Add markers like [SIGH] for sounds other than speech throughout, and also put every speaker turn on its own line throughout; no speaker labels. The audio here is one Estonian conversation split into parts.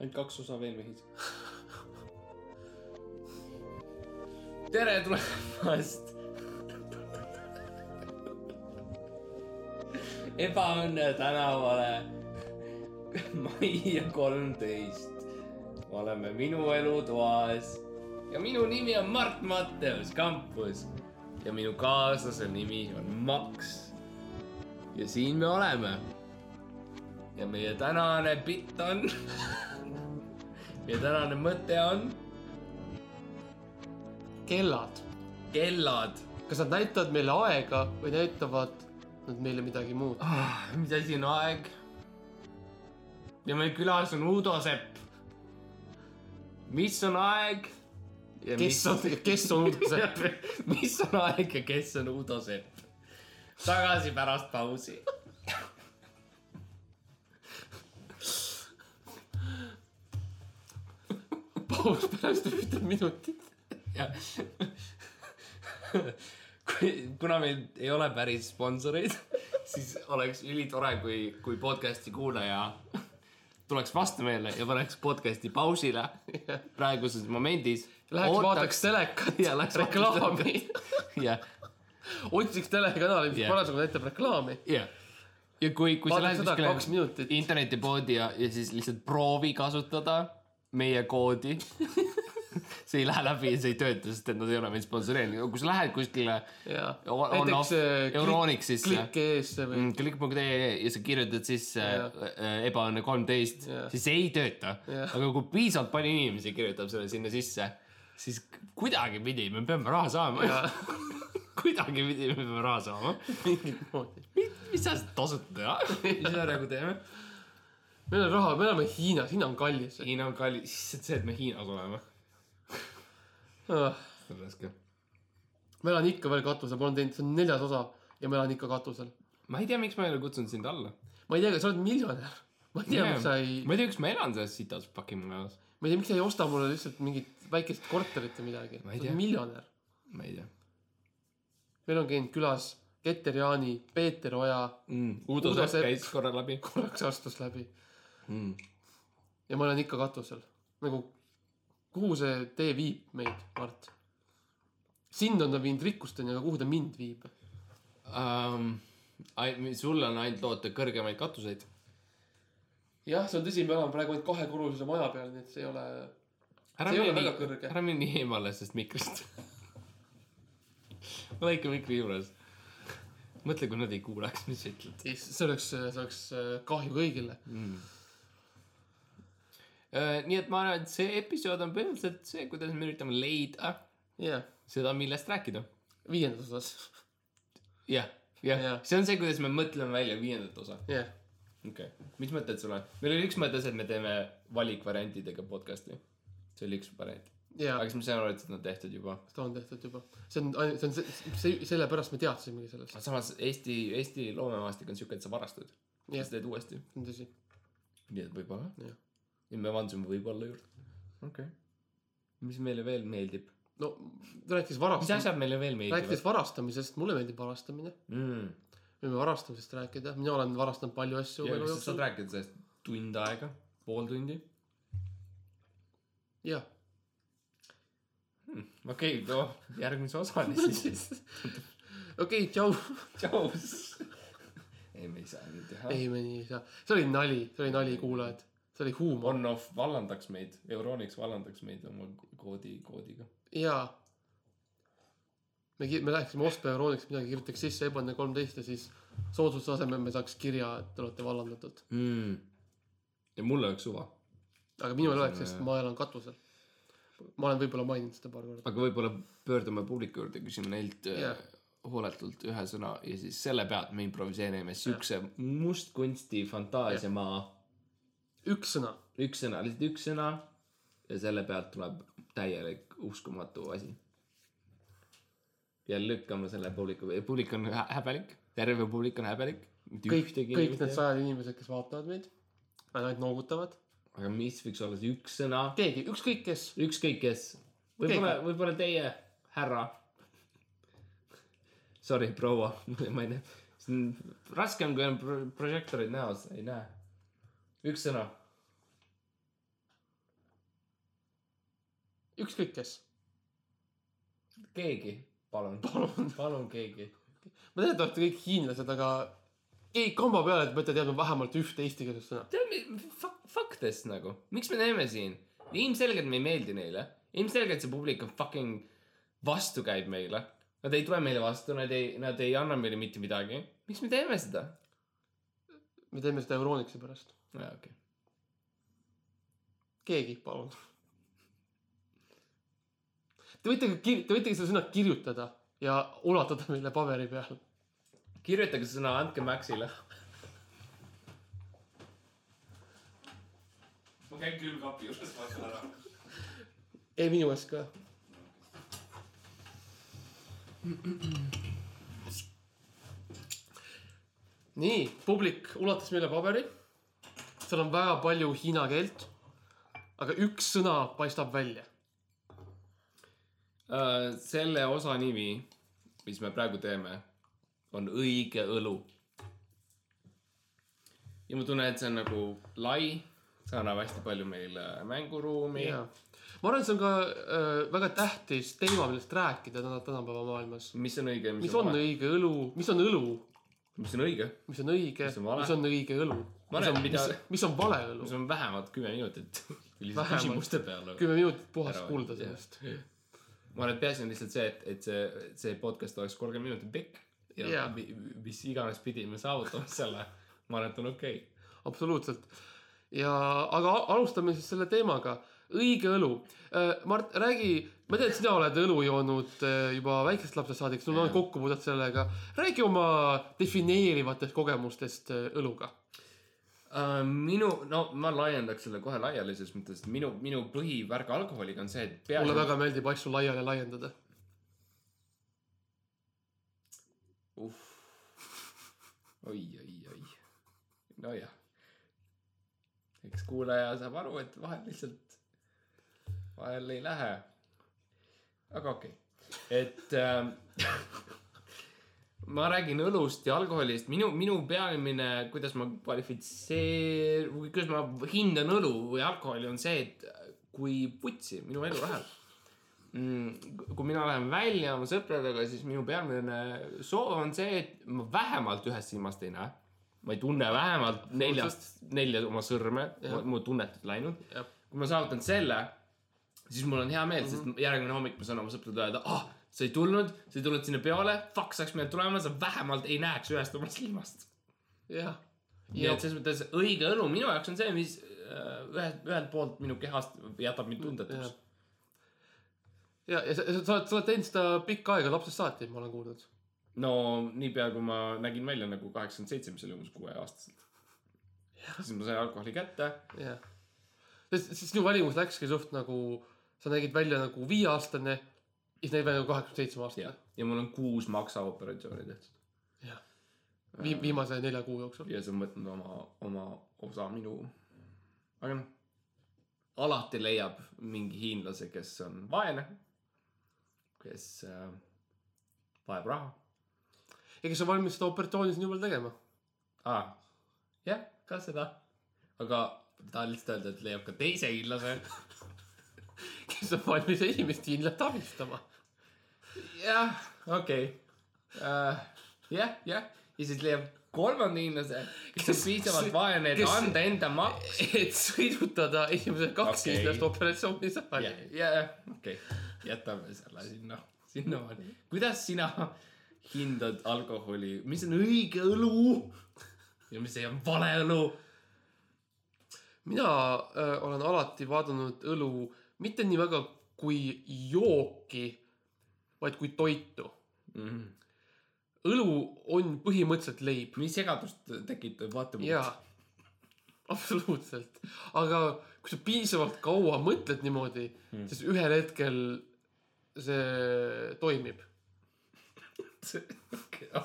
ainult kaks osa veel mehis .
[LAUGHS] tere tulemast . ebaõnne tänavale . mai kolmteist . oleme minu elutoas ja minu nimi on Mart Matteus Kampus ja minu kaaslase nimi on Max . ja siin me oleme . ja meie tänane bitt on , [LAUGHS] meie tänane mõte on
kellad ,
kellad
kas nad näitavad meile aega või näitavad nad meile midagi muud ?
ah, . mis asi on aeg ? ja meil külas on Uudo Sepp . mis on aeg ?
kes on , kes on uudised ?
[LAUGHS] mis on aeg ja kes on Uudo Sepp ? tagasi pärast pausi .
paus pärast ühte minutit .
kuna meil ei ole päris sponsoreid , siis oleks ülitore , kui , kui podcast'i kuulaja tuleks vastu meile ja paneks podcast'i pausile praeguses momendis .
Läheks Ootaks. vaataks telekat
ja läks
reklaami ,
ja ,
[LAUGHS] otsiks telekanali , mis
Jah.
yeah. parasjagu näitab reklaami .
ja , ja kui , kui sa
Vaata
lähed
seda kaks minutit.
internetipoodi ja , ja siis lihtsalt proovi kasutada meie koodi .
[LAUGHS]
see ei lähe läbi ja see ei tööta , sest et nad ei ole meid sponsoreerinud , aga kui sa lähed kuskile
jaa äh,
On- on off- Euronixisse.
klikk.ee-sse [LAUGHS] või
mm, klikk.ee ja sa kirjutad sisse
Jah.
äh, ebaõnne kolmteist ,
Jah.
siis see ei tööta .
Jah.
aga kui piisavalt palju inimesi kirjutab selle sinna sisse , siis kuidagipidi me peame raha saama . [LAUGHS]
jaa ,
kuidagipidi me peame raha saama .
mingit moodi .
mis sa seda tasuta
[LAUGHS]
teha , mis me nagu teeme ?
meil on raha , me elame Hiinas , Hiina on kallis .
Hiina on kallis , lihtsalt see , et me Hiinas oleme ,
ma
see on raske .
Ah, elan ikka veel katusel , ma olen teinud , see on neljas osa ja ma elan ikka katusel .
ma ei tea , miks ma ei ole kutsunud sind alla .
ma ei tea , kas sa oled miljonär ? ma ei tea , miks sa ei ,
ma ei tea , kas ma elan selles sitas fucking majas ,
ma ei tea , miks sa ei osta mulle lihtsalt mingit väikest korterit või midagi .
Ma
sa
ei
oled
tea.
miljonär .
ma ei tea
meil on käinud külas Keter Jaani , Peeter Oja ,
mm. . Uudo
Uudo
Sepp
Sepp.
käis korra läbi .
korraks astus läbi
Mm.
ja ma olen ikka katusel . nagu , kuhu see tee viib meid , Mart ? sind on ta viinud rikkusteni , aga kuhu ta mind viib ?
um, . sul on ainult loota kõrgemaid katuseid .
jah , see on tõsi , me elame praegu ainult kahekorruselise maja peal , nii et see ei ole .
ära
See ei
mine
ole väga
nii ,
kõrge.
ära mine nii eemale sellest mikrist . [LAUGHS] ole ikka mikri juures . mõtle , kui nad ei kuuleks , mis sa ütled .
see oleks , see oleks äh, kahju kõigile .
Mm. Äh, nii et ma arvan , et see episood on põhimõtteliselt see , kuidas me üritame leida
jah ,
seda , millest rääkida .
viiendas osas .
jah , jah
Jah. ,
see on see , kuidas me mõtleme välja viiendat osa .
jah ,
okei okay. , mis mõtted sul on ? meil oli üks mõte see , et me teeme valikvariantidega podcast'i . see oli üks variant .
ja
aga siis ma sain aru , et seda on tehtud juba
seda on tehtud juba . see on , see on see, see , sellepärast me teadsimegi sellest .
aga samas Eesti , Eesti loomemaastik on siuke , et sa varastad
Jah.
ja sa teed uuesti .
see on tõsi ,
nii et võib-olla .
jah .
ja me vandusime võib-olla juurde . okei okay. . mis meile veel meeldib ?
no ta rääkis
mis
varast- ,
asjad meile veel meeldivad
rääkides ? varastamisest , mulle meeldib varastamine .
Mm.
võime varastamisest rääkida , mina olen varastanud palju asju
ja
elu
kas sa saad
jooksul .
rääkida sellest tund aega , pool tundi ?
jah ,
okei okay, , no järgmise [LAUGHS] osani siis .
[LAUGHS] okei , tšau .
tšau . ei , me ei saa nii teha .
ei , me nii ei saa , see oli nali , see oli nali , kuulajad , see oli huumor
On-off vallandaks meid , Euronix vallandaks meid oma koodi , koodiga .
ja . me , me läheksime Ospe Euroniks midagi , kirjutaks sisse Ebane kolmteist ja siis soodustuse asemel me saaks kirja , et te olete vallandatud .
mm. . ja mul oleks suva ,
aga minul ei oleks , sest ma elan katusel . ma olen võib-olla maininud seda paar korda .
aga võib-olla pöördume publiku juurde , küsime neilt
Jah.
yeah. hooletult ühe sõna ja siis selle pealt me improviseerime siukse yeah. mustkunsti fantaasiamaa yeah. ,
üks sõna ,
üks sõna , lihtsalt üks sõna ja selle pealt tuleb täielik uskumatu asi . ja lükkame selle publiku , publik on hä- häbelik , terve publik on häbelik .
kõik , kõik need sajad inimesed , kes vaatavad meid , ainult noogutavad ,
aga mis võiks olla see üks sõna ,
keegi , ükskõik kes ,
ükskõik kes , võib-olla , võib-olla teie , härra . Sorry , proua , [LAUGHS] ma ei näe , see on raskem , kui on pro- prožektorid näos , ei näe . üks sõna .
ükskõik kes ,
keegi , palun , [LAUGHS]
palun .
palun keegi .
ma tean , et te olete kõik hiinlased , aga ei , kamba peale , et peate teadma vähemalt ühte eestikeelset sõna .
tead , faktest nagu , miks me teeme siin ? ilmselgelt me ei meeldi neile , ilmselgelt see publik on fucking vastu käib meile . Nad ei tule meile vastu , nad ei , nad ei anna meile mitte midagi . miks me teeme seda ?
me teeme seda Euroniksi pärast .
jaa , okei .
keegi , palun . Te võite ka kir- , te võite ka seda sõna kirjutada ja ulatada meile paberi peal .
kirjutage sõna , andke Maxile .
ma käin külmkapi juures , vaatan ära .
ei , minu eest ka . nii , publik ulatas meile paberi . seal on väga palju hiina keelt . aga üks sõna paistab välja .
Äh, selle osa nimi , mis me praegu teeme , on õige õlu . ja ma tunnen , et see on nagu lai , see annab hästi palju meile mänguruumi
jaa . ma arvan , et see on ka öö, väga tähtis teema , millest rääkida täna , tänapäeva maailmas .
mis on õige ,
mis on õige õlu , mis on õlu ,
mis on õige ,
mis on õige ,
Mis on vale?
mis on õige õlu ,
Ma
mis
arvan,
on , mis,
mida-
mis on vale õlu
mis . on vähemalt kümme minutit [LAUGHS] lihtsalt
Vähemalt.
küsimuste peale .
kümme minutit puhast
Ära-
kuulda
jah.
sellest .
ma arvan , et peaasi on lihtsalt see , et , et see , see podcast oleks kolmkümmend minutit pikk ja
Jaa.
yeah. mis iganes pidi me saavutame selle , ma arvan , et on okei okay. .
absoluutselt . ja , aga a- alustame siis selle teemaga . õige õlu . Mart , räägi , ma tean , et sina oled õlu joonud öö, juba väiksest lapsest saadik , sul on
Jah.
kokkupuudet sellega . räägi oma defineerivatest kogemustest öö, õluga .
Uh, minu , no ma laiendaks selle kohe laiali , selles mõttes , et minu , minu põhivärk alkoholiga on see , et
mulle
peaasi ,
väga meeldib asju laiali laiendada .
oi , oi , oi , nojah . eks kuulaja saab aru , et vahel lihtsalt , vahel ei lähe . aga okei okay. , et ähm, [LAUGHS] ma räägin õlust ja alkoholist , minu , minu peamine , kuidas ma kvalifitseer- , või kuidas ma hindan õlu või alkoholi , on see , et äh, kui putsi minu elurahal mm, . kui mina lähen välja oma sõpradega , siis minu peamine soov on see , et ma vähemalt ühest silmast ei näe . ma ei tunne vähemalt neljast , nelja oma sõrme ,
Jah.
mu tunnetud läinud
Jah. .
kui ma saavutan selle , siis mul on hea meel mm , -hmm. sest järgmine hommik ma saan oma sõpradele öelda , ah , sa ei tulnud , sa ei tulnud sinna peole , fuck , sa oleks pidanud tulema , sa vähemalt ei näeks ühest oma silmast .
jah .
nii
ja
et selles mõttes õige õlu minu jaoks on see , mis äh, ühelt , ühelt poolt minu kehast jätab mind tundetuks
Jah. . ja , ja sa, sa, sa oled , sa oled teinud seda pikka aega lapsest saati , ma olen kuulnud .
no niipea , kui ma nägin välja nagu kaheksakümmend seitse , mis oli umbes kuueaastaselt . siis ma sain alkoholi kätte .
jah . sest , sest sinu valimus läkski suht nagu , sa nägid välja nagu viieaastane , siis nägid välja nagu kaheksakümne seitsme aastane
ja , ja mul on kuus maksaoperatsiooni tehtud .
Vi, . viimase nelja kuu jooksul .
ja see on võtnud oma , oma osa minu . aga noh , alati leiab mingi hiinlase , kes on vaene , kes äh, vajab raha
ja kes on valmis seda operatsiooni sinu peal tegema .
ah, . jah , ka seda . aga tahan lihtsalt öelda , et leiab ka teise hiinlase .
kes on valmis esimest hiinlat abistama .
jah , okei okay. . jah , jah , ja siis leiab kolmanda hiinlase , kes on piisavalt vaene , et
kes-
anda enda maks .
et sõidutada esimesed
Okei.
kaks okay. hiinlast operatsiooni saali
jah , jah , okei okay. , jätame selle sinna , sinnamaani . kuidas sina hindad alkoholi , mis on õige õlu ja mis ei ole vale õlu ?
mina öö, olen alati vaadanud õlu mitte nii väga kui jooki , vaid kui toitu . õlu on põhimõtteliselt leib .
mis segadust tekitab , vaatame .
jaa , [LAUGHS] absoluutselt . aga kui sa piisavalt kaua mõtled niimoodi
Mm.
mm. , siis ühel hetkel see toimib .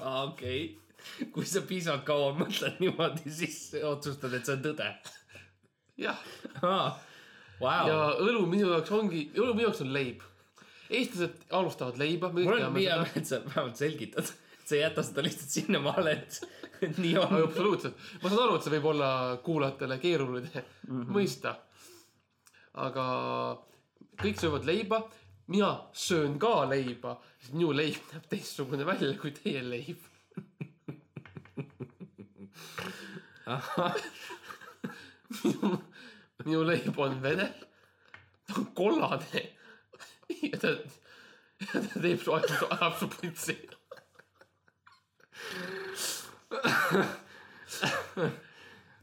okei , kui sa piisavalt kaua mõtled niimoodi , siis otsustad , et see on tõde .
jah , ja
Vau ,
õlu minu jaoks ongi , õlu minu jaoks on leib . eestlased alustavad leiba , me
mul
kõik
on
teame
hea
seda .
meel , et sa vähemalt selgitad , sa ei jäta seda lihtsalt sinnamaale , et , et nii on .
[LAUGHS] absoluutselt , ma saan aru , et see võib olla kuulajatele keeruline mm -hmm. mõista . aga kõik söövad leiba , mina söön ka leiba , sest minu leib näeb teistsugune välja kui teie leib . [LAUGHS] minu, minu leib on vene , ta on kollane ja ta , ta teeb su ajab , ajab su putsi .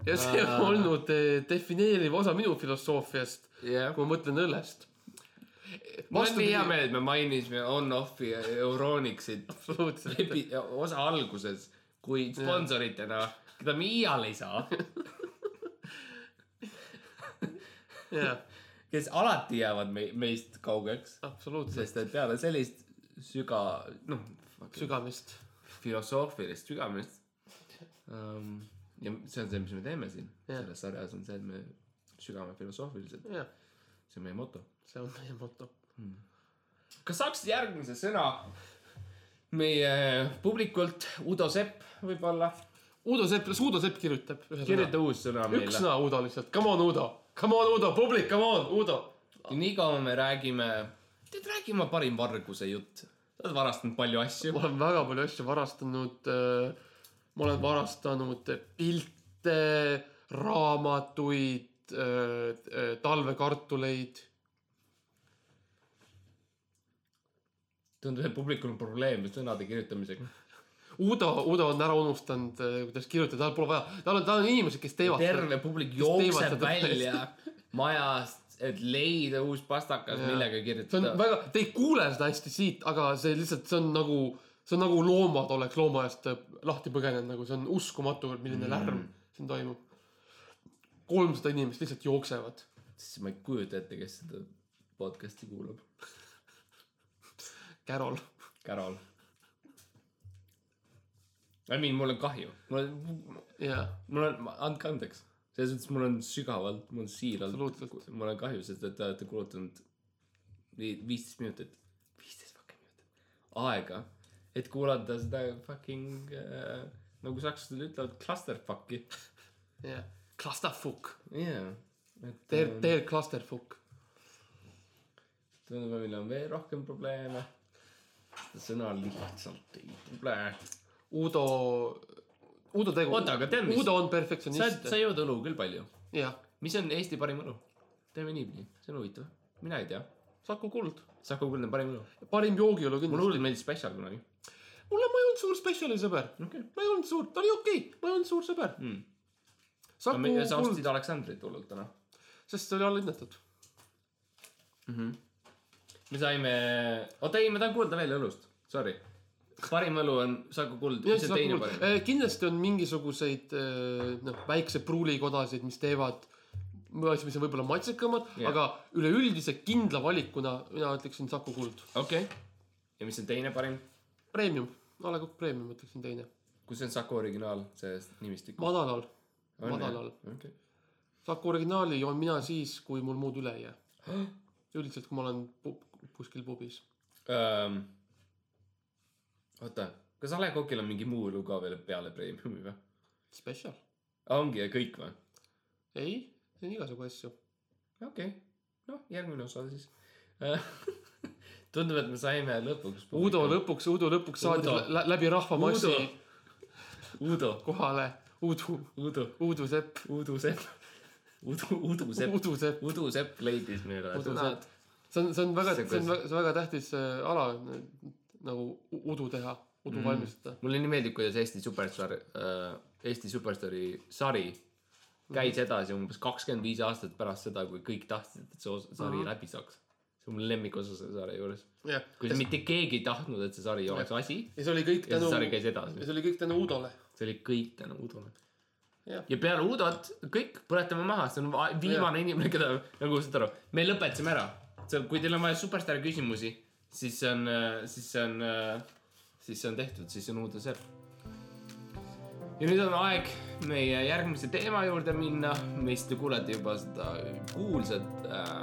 ja see on olnud eh, defineeriv osa minu filosoofiast ,
jah .
kui ma mõtlen õllest .
mul on nii hea meel , et me mainisime on-off'i ja Euronixit
absoluutselt .
epi- , osa alguses , kui sponsoritena , keda me iial ei saa ,
jah ,
kes alati jäävad me- , meist kaugeks ,
absoluutselt .
sest et peale sellist süga , noh ,
sügamist .
filosoofilist sügamist um, . ja see on see , mis me teeme siin
Jah.
yeah. selles sarjas on see , et me sügame filosoofiliselt ,
jah ,
see on meie moto .
see on meie moto .
kas saaks järgmise sõna meie publikult , Udo Sepp võib-olla ,
Uudo Sepp , las Uudo Sepp kirjutab .
kirjuta uus sõna
üks
meile .
sõna Uudo lihtsalt , come on Uudo , come on Uudo , publik , come on Uudo .
nii kaua me räägime , tead räägi oma parim varguse jutt , sa oled varastanud palju asju
ma . olen väga palju asju varastanud . ma olen varastanud pilte , raamatuid , talvekartuleid .
tundub , et publikul on probleeme sõnade kirjutamisega .
Uudo , Uudo on ära unustanud , kuidas kirjutada , tal pole vaja , tal on , tal on inimesed , kes teevad .
terve publik
teevad
jookseb
seda
välja majast , et leida uus pastakas ,
Jaa.
millega
see on
kirjutada .
väga , te ei kuule seda hästi siit , aga see lihtsalt , see on nagu , see on nagu loomad oleks looma eest eh, lahti põgenenud , nagu see on uskumatu , milline mm. lärm siin toimub . kolmsada inimest lihtsalt jooksevad .
siis ma ei kujuta ette , kes seda podcast'i kuulab .
Carol ,
Carol . I mean , mul on kahju , mul on ,
jaa ,
mul on , andke andeks , selles mõttes mul on sügavalt , mul on siiralt ,
Absoluutselt.
mul on kahju , sest et te olete kulutanud vi- viisteist minutit , viisteist fucking minutit aega , et kuulata seda fucking äh, nagu sakslased ütlevad , clusterfuck'i .
jaa . Clusterfuck ,
jaa , et
teer ,
ähm,
teer Clusterfuck .
tundub , et meil on veel rohkem probleeme . seda sõna lihtsalt ei tule .
Uudo , Uudo tegu .
Oota, aga tead mis?
Uudo on
sa , sa
perfektsionist .
jood õlu küll palju
jah ,
mis on Eesti parim õlu ? teeme niipidi , see on huvitav . mina ei tea .
Saku Kuld ,
Saku Kuldne parim õlu .
parim joogiõlu
mulle
kindlasti .
hullult meeldis Special kunagi .
mulle , ma ei olnud suur spetsiali sõber ,
okei .
ma ei olnud suur , ta oli okei okay. , ma ei olnud suur sõber
Mm.
Saku
ja sa
Kuld
ostsid , Aleksandrit hullult täna
sest see oli allahinnatud
mm . -hmm. me saime , oota ei , ma tahan kuulda veel õlust , sorry . parim õlu on Saku Kuld ,
Jah,
mis on
seda
teine
kuulda.
parim ?
Eh, kindlasti on mingisuguseid eh, noh , väikse pruulikodasid , mis teevad asju , mis on võib-olla maitsekamad
Jah.
yeah. , aga üleüldise kindla valikuna mina ütleksin Saku Kuld .
okei okay. . ja mis on teine parim ?
Premium , A Le Coq Premium ütleksin teine ,
kus on Saku originaal , see nimistik ?
madalal , madalal .
okei .
Saku originaali joon mina siis , kui mul muud üle ei jää . üldiselt , kui ma olen pu kuskil pubis .
Ehm, oota , kas A Le Coqil on mingi muu õlu ka veel peale Premiumi või ?
Special ,
ongi ja kõik või ?
ei , see on igasugu asju .
okei okay. , noh , järgmine osa siis . [LAUGHS] tundub , et me saime lõpuks .
Uudo . lõpuks , Uudo lõpuks saadi
Uudo.
lä- läbi rahvamassi
Uudo , Uudo ,
kohale Uudu ,
Uudo ,
Uudu Sepp ,
Uudu Sepp , Uudu , Uudu Sepp ,
Uudu Sepp .
Uudu Sepp leidis meile
Udu
sõnad .
see on , see on väga ,
See,
see on
kuidas-
väga , see on väga tähtis äh, ala n- nagu u- udu teha , udu mm. valmistada .
mulle nii meeldib , kuidas Eesti superstaar äh, , Eesti superstaari sari käis
Mhm.
edasi umbes kakskümmend viis aastat pärast seda , kui kõik tahtsid , et see osa,
Mhm.
sari mm -hmm. läbi saaks . see on mu lemmikosa selle sarja juures .
jah ,
kui mitte keegi ei tahtnud , et see sari oleks asi
ja see oli kõik
ja
tänu ,
see sari
ja
käis edasi .
see oli kõik tänu Udole .
see oli kõik tänu Udole .
Jah.
ja peale Udot kõik põletame maha , see on va- viimane inimene , keda nagu saad aru , me lõpetasime ära . see , kui teil on vaja superstaari küsimusi , siis see on , siis see on , siis see on tehtud , siis on Udo Sepp . ja nüüd on aeg meie järgmise teema juurde minna , mis te kuulete juba seda kuulsat äh,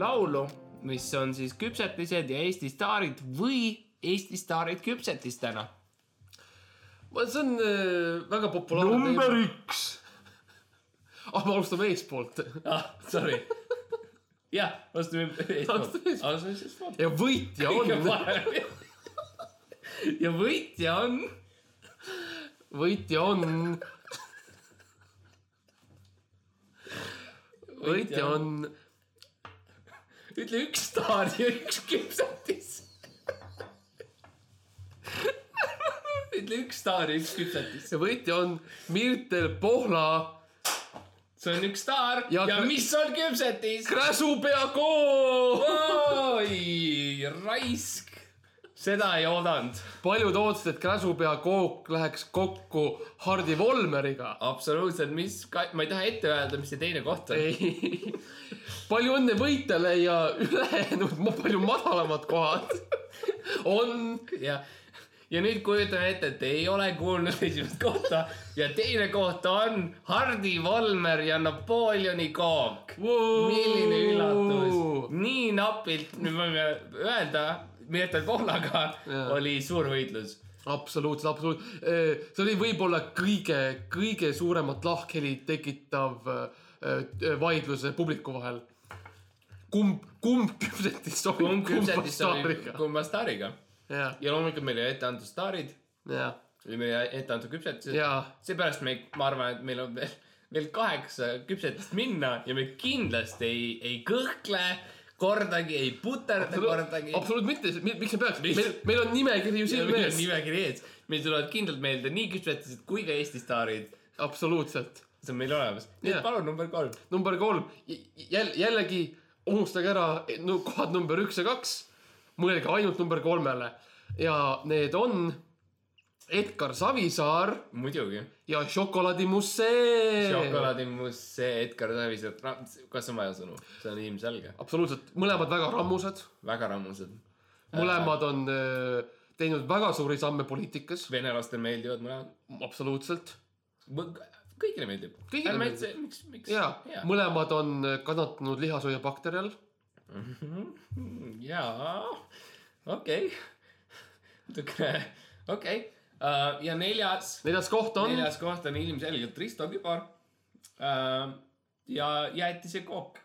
laulu , mis on siis küpsetised ja Eesti staarid või Eesti staarid küpsetis täna
see on äh, väga populaarne
Number
[LAUGHS] üks . ah , me alustame eespoolt .
ah , sorry . jah , astume
Astume
eespool ,
eespool.
astume eespool .
ja võitja
kõige
on ,
parem . ja võitja on
võitja on , võitja on ,
ütle üks staar ja üks küpsetis . ütle üks staar ja üks küpsetis .
võitja on Mirtel Pohla
see on üks staar ja,
Ja
ja
kõ-
mis on küpsetis ?
Kräsupeakool .
oi , raisk . seda ei oodanud .
paljud ootasid , et Kräsupeakook läheks kokku Hardi Volmeriga .
absoluutselt , mis , ma ei taha ette öelda , mis see teine koht on .
ei , palju õnne võitjale ja ülejäänud ma- palju madalamad kohad on
ja , ja nüüd kujutame ette , et ei ole kuulnud esimest kohta ja teine koht on Hardi Volmer ja Napoleoni kook .
Voo!
milline üllatus , nii napilt , me võime öelda , Mirtel Pohlaga
Jaa.
oli suur võitlus .
absoluutselt , absoluutselt . see oli võib-olla kõige , kõige suuremat lahkheli tekitav äh, äh, vaidlus publiku vahel . kumb , kumb küpsetis sobib
kumb küpsetis sobib
staariga?
kumma staariga
jah ,
ja loomulikult meile ette antud staarid ,
jah ,
meile ette antud küpsetised .
jah ,
seepärast me , ma arvan , et meil on veel , veel kaheksa küpsetist minna ja me kindlasti ei , ei kõhkle kordagi , ei puterda kordagi .
absoluutselt mitte , miks me peaks ,
Miks?
meil , meil on nimekiri ju
siin
silme
on
ees ,
nimekiri ees , meil tulevad kindlalt meelde nii küpsetised kui ka Eesti staarid ,
absoluutselt
see on meil olemas . nii et
Jaa.
palun number kolm .
number kolm , jälle , jällegi unustage ära no, kohad number üks ja kaks . mõelge ainult number kolmele ja need on Edgar Savisaar
muidugi ,
ja Šokolaadi Musee .
šokolaadimus , see Edgar Savisaar , kas on vaja sõnu , see on ilmselge ,
absoluutselt , mõlemad väga rammusad ,
väga rammused .
mõlemad on öö, teinud väga suuri samme poliitikas ,
venelastele meeldivad mõlemad ,
absoluutselt .
kõigile meeldib .
Kõigile
Ärme
meeldib.
üldse- miks , miks ?
ja mõlemad on öö, kannatanud lihashoia bakterjal .
jaa , okei [LAUGHS] okay. , natukene , okei okay. uh, . ja neljas ,
neljas koht on
neljas koht on ilmselgelt Risto Kübar uh, . ja jäätis ja kook .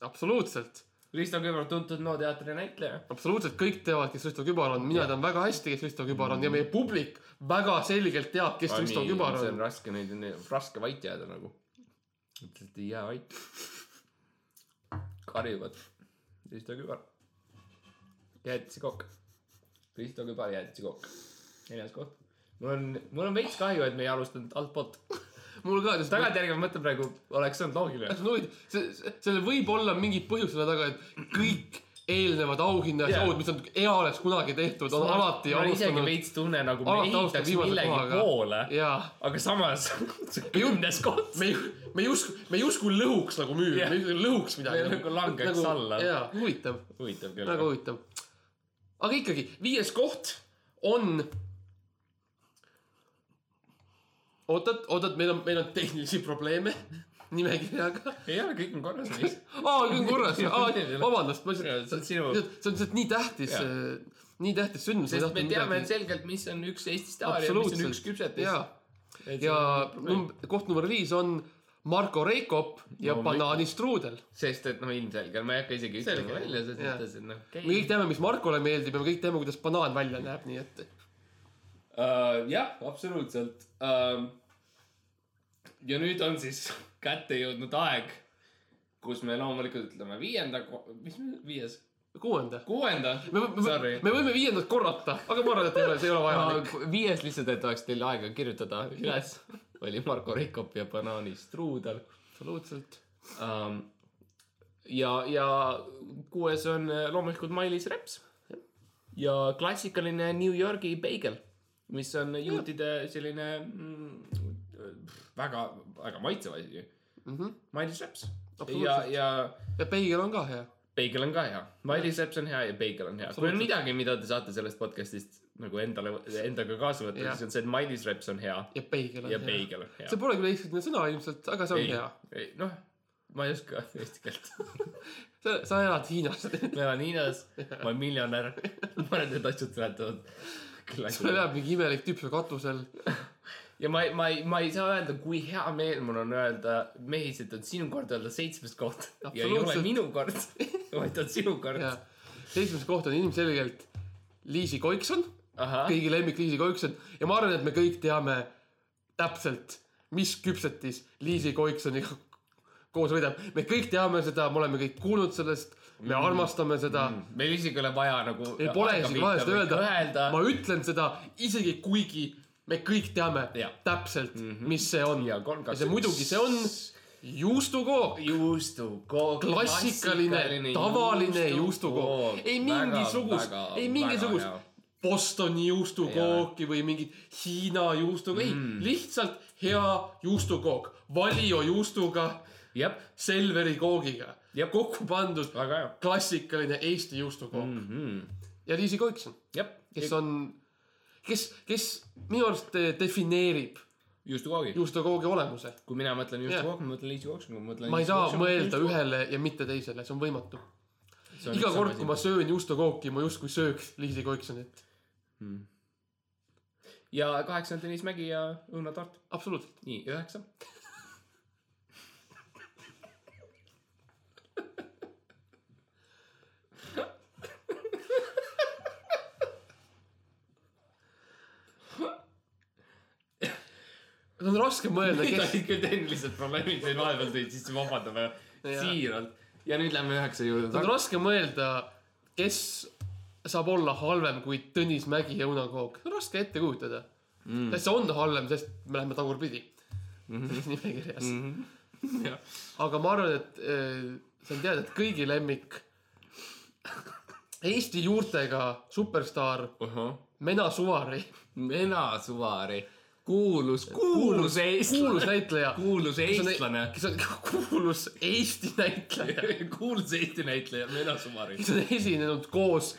absoluutselt ,
Risto Kübar , tuntud NO teatri näitleja .
absoluutselt kõik teavad , kes Risto Kübar on , mina tean väga hästi , kes Risto Kübar on ja meie publik väga selgelt teab , kes Risto Kübar
see on
on .
raske , neid on raske vait jääda nagu . lihtsalt ei jää vait . karjuvad . Risto Kübar . jäätis ja kook . Risto Kübar , jäätis ja kook . neljas koht . mul on , mul on veits kahju , et me ei alustanud altpoolt .
mul ka , sest tagant
tagantjärgi ma mõtlen praegu , oleks olnud loogiline .
no, see , sellel võib olla mingid põhjused selle taga , et kõik eelnevad auhinnashood
Jaa.
yeah. , mis on eales kunagi tehtud , on alati
ma isegi
alustanud .
veits tunnen nagu me
alati alustanud
ehitaks
viimase
millegi
kohaga .
poole ,
jaa ,
aga samas [LAUGHS] see kümnes koht .
me ei , me ei usku , me ei usku lõhuks nagu müüa
Jah.
yeah. , me ei usku lõhuks midagi .
Me nagu langeks alla.
jaa , huvitav ,
huvitav küll .
väga huvitav . aga ikkagi , viies koht on . oot-oot , oot-oot , meil on , meil on tehnilisi probleeme [LAUGHS] nimekirjaga
ei ole , kõik on korras meis .
aa , kõik on korras ,
[LAUGHS]
aa
Ei, ei , ole.
vabandust , ma
Jaa,
lihtsalt ,
see
see
on
on
sinu-
lihtsalt nii tähtis
Jaa. ,
nii tähtis sündmus .
sest me teame midagi... selgelt , mis on üks Eesti staar ja mis on üks
absoluutselt ,
küpsetis
ja ,. ja num- , koht number viis on Marko Reikop ja
No,
no,
ma-
banaanistruudel .
sest et noh , ilmselge , ma ei hakka isegi ütlema
Selge.
välja selles
Jaa.
mõttes , et noh ,
me kõik teame , mis Markole meeldib ja me kõik teame , kuidas banaan välja näeb , nii et
uh, . jah , absoluutselt uh, . ja nüüd on siis kätte jõudnud aeg , kus me loomulikult ütleme viienda , mis me- viies ,
kuuenda .
kuuenda ,
me , me
sorry ,
me võime viiendat korrata , aga ma arvan , et ei ole , see ei ole vajalik .
uh, . viies lihtsalt , et oleks teil aega kirjutada üles , oli Marko Reikop ja banaanistruudel
absoluutselt .
um, . ja , ja kuues on äh, loomulikult Mailis Reps ja klassikaline New Yorgi beigel , mis
Ah.
on juutide selline mm, väga , väga maitsev asi mm
Mhm. .
Mailis Reps ja ,
Absoluutselt.
ja
ja peigel on ka hea .
beigel on ka hea , Mailis Reps on hea ja beigel on hea . kui on
Absoluutselt.
midagi , mida te saate sellest podcast'ist nagu endale , endaga kaasa võtta ,
Jah.
siis on see , et Mailis Reps on hea
ja peigel on
ja
hea .
beigel on hea .
see pole küll eestikeelne sõna ilmselt , aga see on
ei
hea .,
ei noh , ma ei oska [LAUGHS] eesti keelt
sa , sa elad Hiinas [LAUGHS]
ma elan Hiinas , ma olen miljonär , ma arvan , et need asjad seletavad küll
seal
asju .
elab mingi imelik tüüp seal katusel ,
ja ma ei , ma ei , ma ei saa öelda , kui hea meel mul on öelda , mehis , et on sinu kord öelda seitsmes koht ja ei ole
Absoluutselt.
minu kord , vaid on sinu kord .
jaa . seitsmes koht on ilmselgelt Liisi Koikson ,
ahah ,
kõigi lemmik Liisi Koikson ja ma arvan , et me kõik teame täpselt , mis küpsetis Liisi Koiksoniga [LAUGHS] koos võidab . me kõik teame seda , me oleme kõik kuulnud sellest , me armastame seda mm. .
meil isegi ei ole vaja nagu .
ei pole isegi vahest öelda,
öelda.
öelda. , ma ütlen seda isegi kuigi me kõik teame
Jah.
täpselt mm , -hmm. mis see on .
Mhm. Ja kolm, kaks,
see
üks.
muidugi , see on juustukook ,
juustukook .
klassikaline , tavaline juustukook , ei mingisugust , ei mingisugust Bostoni juustukooki või mingit Hiina juustukook , ei , lihtsalt hea juustukook , Valio juustuga ,
jah ,
Selveri koogiga
Jep.
kokku pandud
väga hea . Mhm.
klassikaline Eesti juustukook mm. ja Liisi Koikson
jah ,
kes on , kes , kes minu arust eh, defineerib
juustukoogi .
juustokoogi olemuse .
kui mina mõtlen juustukook , ma mõtlen liisikook , ma mõtlen .
ma ei saa mõelda . ühele ja mitte teisele , see on võimatu . iga kord , kui ma . söön juustokooki , ma justkui sööks Liisi Koiksonit .
ja kaheksa on Tõnis Mägi ja Õuna Tart .
absoluutselt .
nii , üheksa .
see on raske
[LAUGHS]
mõelda ,
Need
kes ,
olid küll tehnilised probleemid , siin vahepeal tulid sisse , vabandame
Jaa.
siiralt . ja nüüd lähme üheksa
see on
juurde .
raske mõelda , kes saab olla halvem kui Tõnis Mägi ja Uno Koog . see on raske ette kujutada mm. . sest see on halvem , sest me läheme tagurpidi mm -hmm. [LAUGHS] nimekirjas mm .
Jah.
-hmm. aga ma arvan , et eh, see on teada , et kõigi lemmik [LAUGHS] Eesti juurtega superstaar Mena Suvari , [LAUGHS]
Mena Suvari , kuulus , kuulus eestlane ,
kuulus näitleja .
kuulus
[LAUGHS]
eestlane ,
kes on e- kuulus Eesti näitleja ,
kuulus Eesti näitleja Mena Suvari .
kes on esinenud koos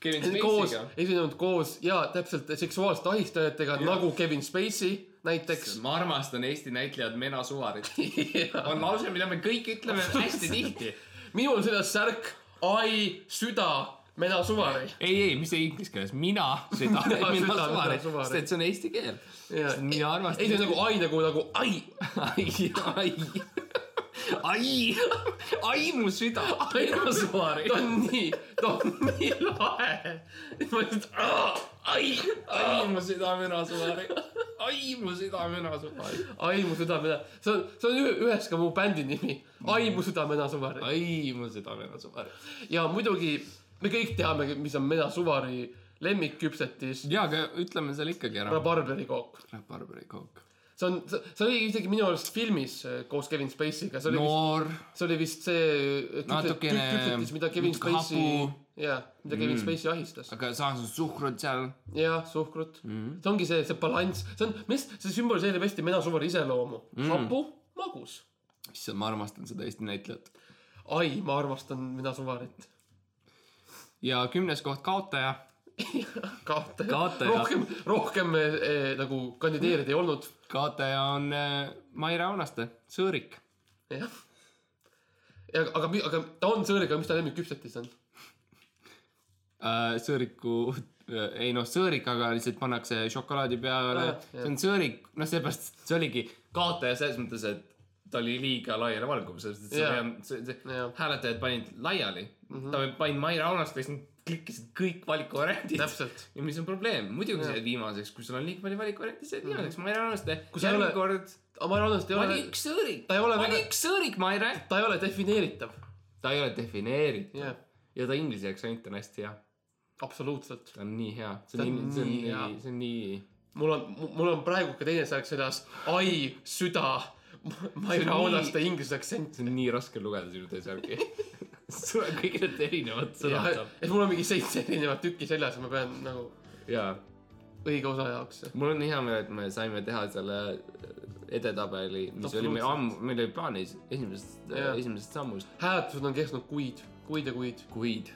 Kevin
koos
Spacey'ga .,
esinenud koos ja täpselt seksuaalsete ahistajatega nagu Kevin Spacey näiteks .
ma armastan Eesti näitlejat Mena Suvarit .
[LAUGHS]
on lause , mida me kõik ütleme hästi tihti .
minul on seljas särk ai süda Mena Suvari .
ei , ei , mis see inglise keeles , mina , seda ,
Mina
Mena
seda,
Suvari ,
Mena Suvari.
sest et see on eesti keel .
Jaa.
mina armastan .
ei , see on nagu ai nagu , nagu ai ,
ai , [LAUGHS] ai , ai , ai mu süda , Mena Suvari
ta . on nii , ta on nii lahe . ma lihtsalt ,
[LAUGHS] ai , ai mu süda , Mena Suvari . ai mu süda , Mena Suvari .
ai mu süda Mena , see on , see on ühe- ühes ka mu bändi nimi , ai mu süda Mena Suvari .
ai mu süda , Mena Suvari .
ja muidugi me kõik teame , mis on Mena Suvari lemmikküpsetis ,
jaa , aga ütleme selle ikkagi ära .
rabarberikook .
Barberi kook .
see on , see oli isegi minu arust filmis eh, koos Kevin Spacey'ga , see oli no, ,
noor ,
see oli vist see eh, küpse-
Natukene
kü- küpsetis , mida Kevin
natuke
Spacey
hapu. ,
jaa , mida Kevin mm. Spacey ahistas .
aga samas on suhkrut seal .
jah , suhkrut mm. . see ongi see , see balanss , see on , mis , see sümboliseerib hästi Mena Suvari iseloomu mm. . hapu , magus .
issand , ma armastan seda Eesti näitlejat .
ai , ma armastan Mena Suvarit . [LAUGHS]
ja kümnes koht kaotaja .
kaotaja,
Kaotaja.
rohkem , rohkem eh, eh, nagu kandideerijaid ei olnud .
kaotaja on äh, Maire Aunaste , sõõrik .
jah . ja aga , aga ta on sõõriga , mis ta lemmikküpsetis on ?
Äh, sõõriku , ei noh , sõõrik , aga lihtsalt pannakse šokolaadi peale
Ah, .
see on sõõrik , noh , seepärast see oligi kaotaja selles mõttes , et ta oli liiga laialivalguv , sellepärast et see
Jaa.
yeah. , see, see
Jaa.
yeah. hääletajad panid laiali mm .
Mhm.
-hmm. ta pani Maire Aunaste ja siis klikkisid kõik valikuvariandid .
täpselt .
ja mis on probleem , muidugi yeah. see viimaseks , kui sul on liiga palju valikuvariante , see jääb viimaseks , Maire Aunaste .
Mhm. sa ei
järgmine
ole-
kord
aga ma arvan , et ta ei ole
vali , üks sõõrik ,
ta ei ole
vali
väga-
üks sõõrik , Maire .
ta ei ole defineeritav .
ta ei ole defineeritud
jah ,
ja ta inglise aktsent on hästi hea ,
absoluutselt .
ta on nii hea , see
Ta
on
on
nii , see on
nii hea.
nii , see on nii
mul on , mul on praegu ka teine särk seljas . ai , süda . ma ei
See on
rauna
nii-
seda inglise aktsenti .
see on nii raske lugeda sinu
[LAUGHS]
teisärgi . sul on kõik need erinevad sõnad seal .
et mul on mingi seitse erinevat tükki seljas ja ma pean nagu
jaa ,
õige osa jaoks .
mul on hea meel , et me saime teha selle edetabeli , mis oli meil ammu , meil oli plaanis esimesest ,
Jaa.
esimesest sammust ,
hääletused on kestnud kuid , kuid ja kuid ,
kuid ,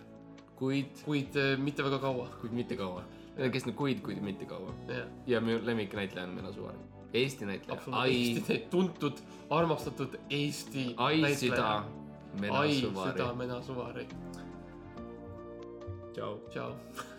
kuid ,
kuid eh, mitte väga kaua .
kuid mitte kaua . Need on kestnud kuid , kuid mitte kaua .
jah ,
ja minu lemmiknäitleja on Mena Suvari , Eesti näitleja , ai ,
absoluutselt . [LAUGHS] tuntud , armastatud Eesti .
ai süda , Mena
ai , süda
Suvari .
Mena Suvari .
tšau .
tšau .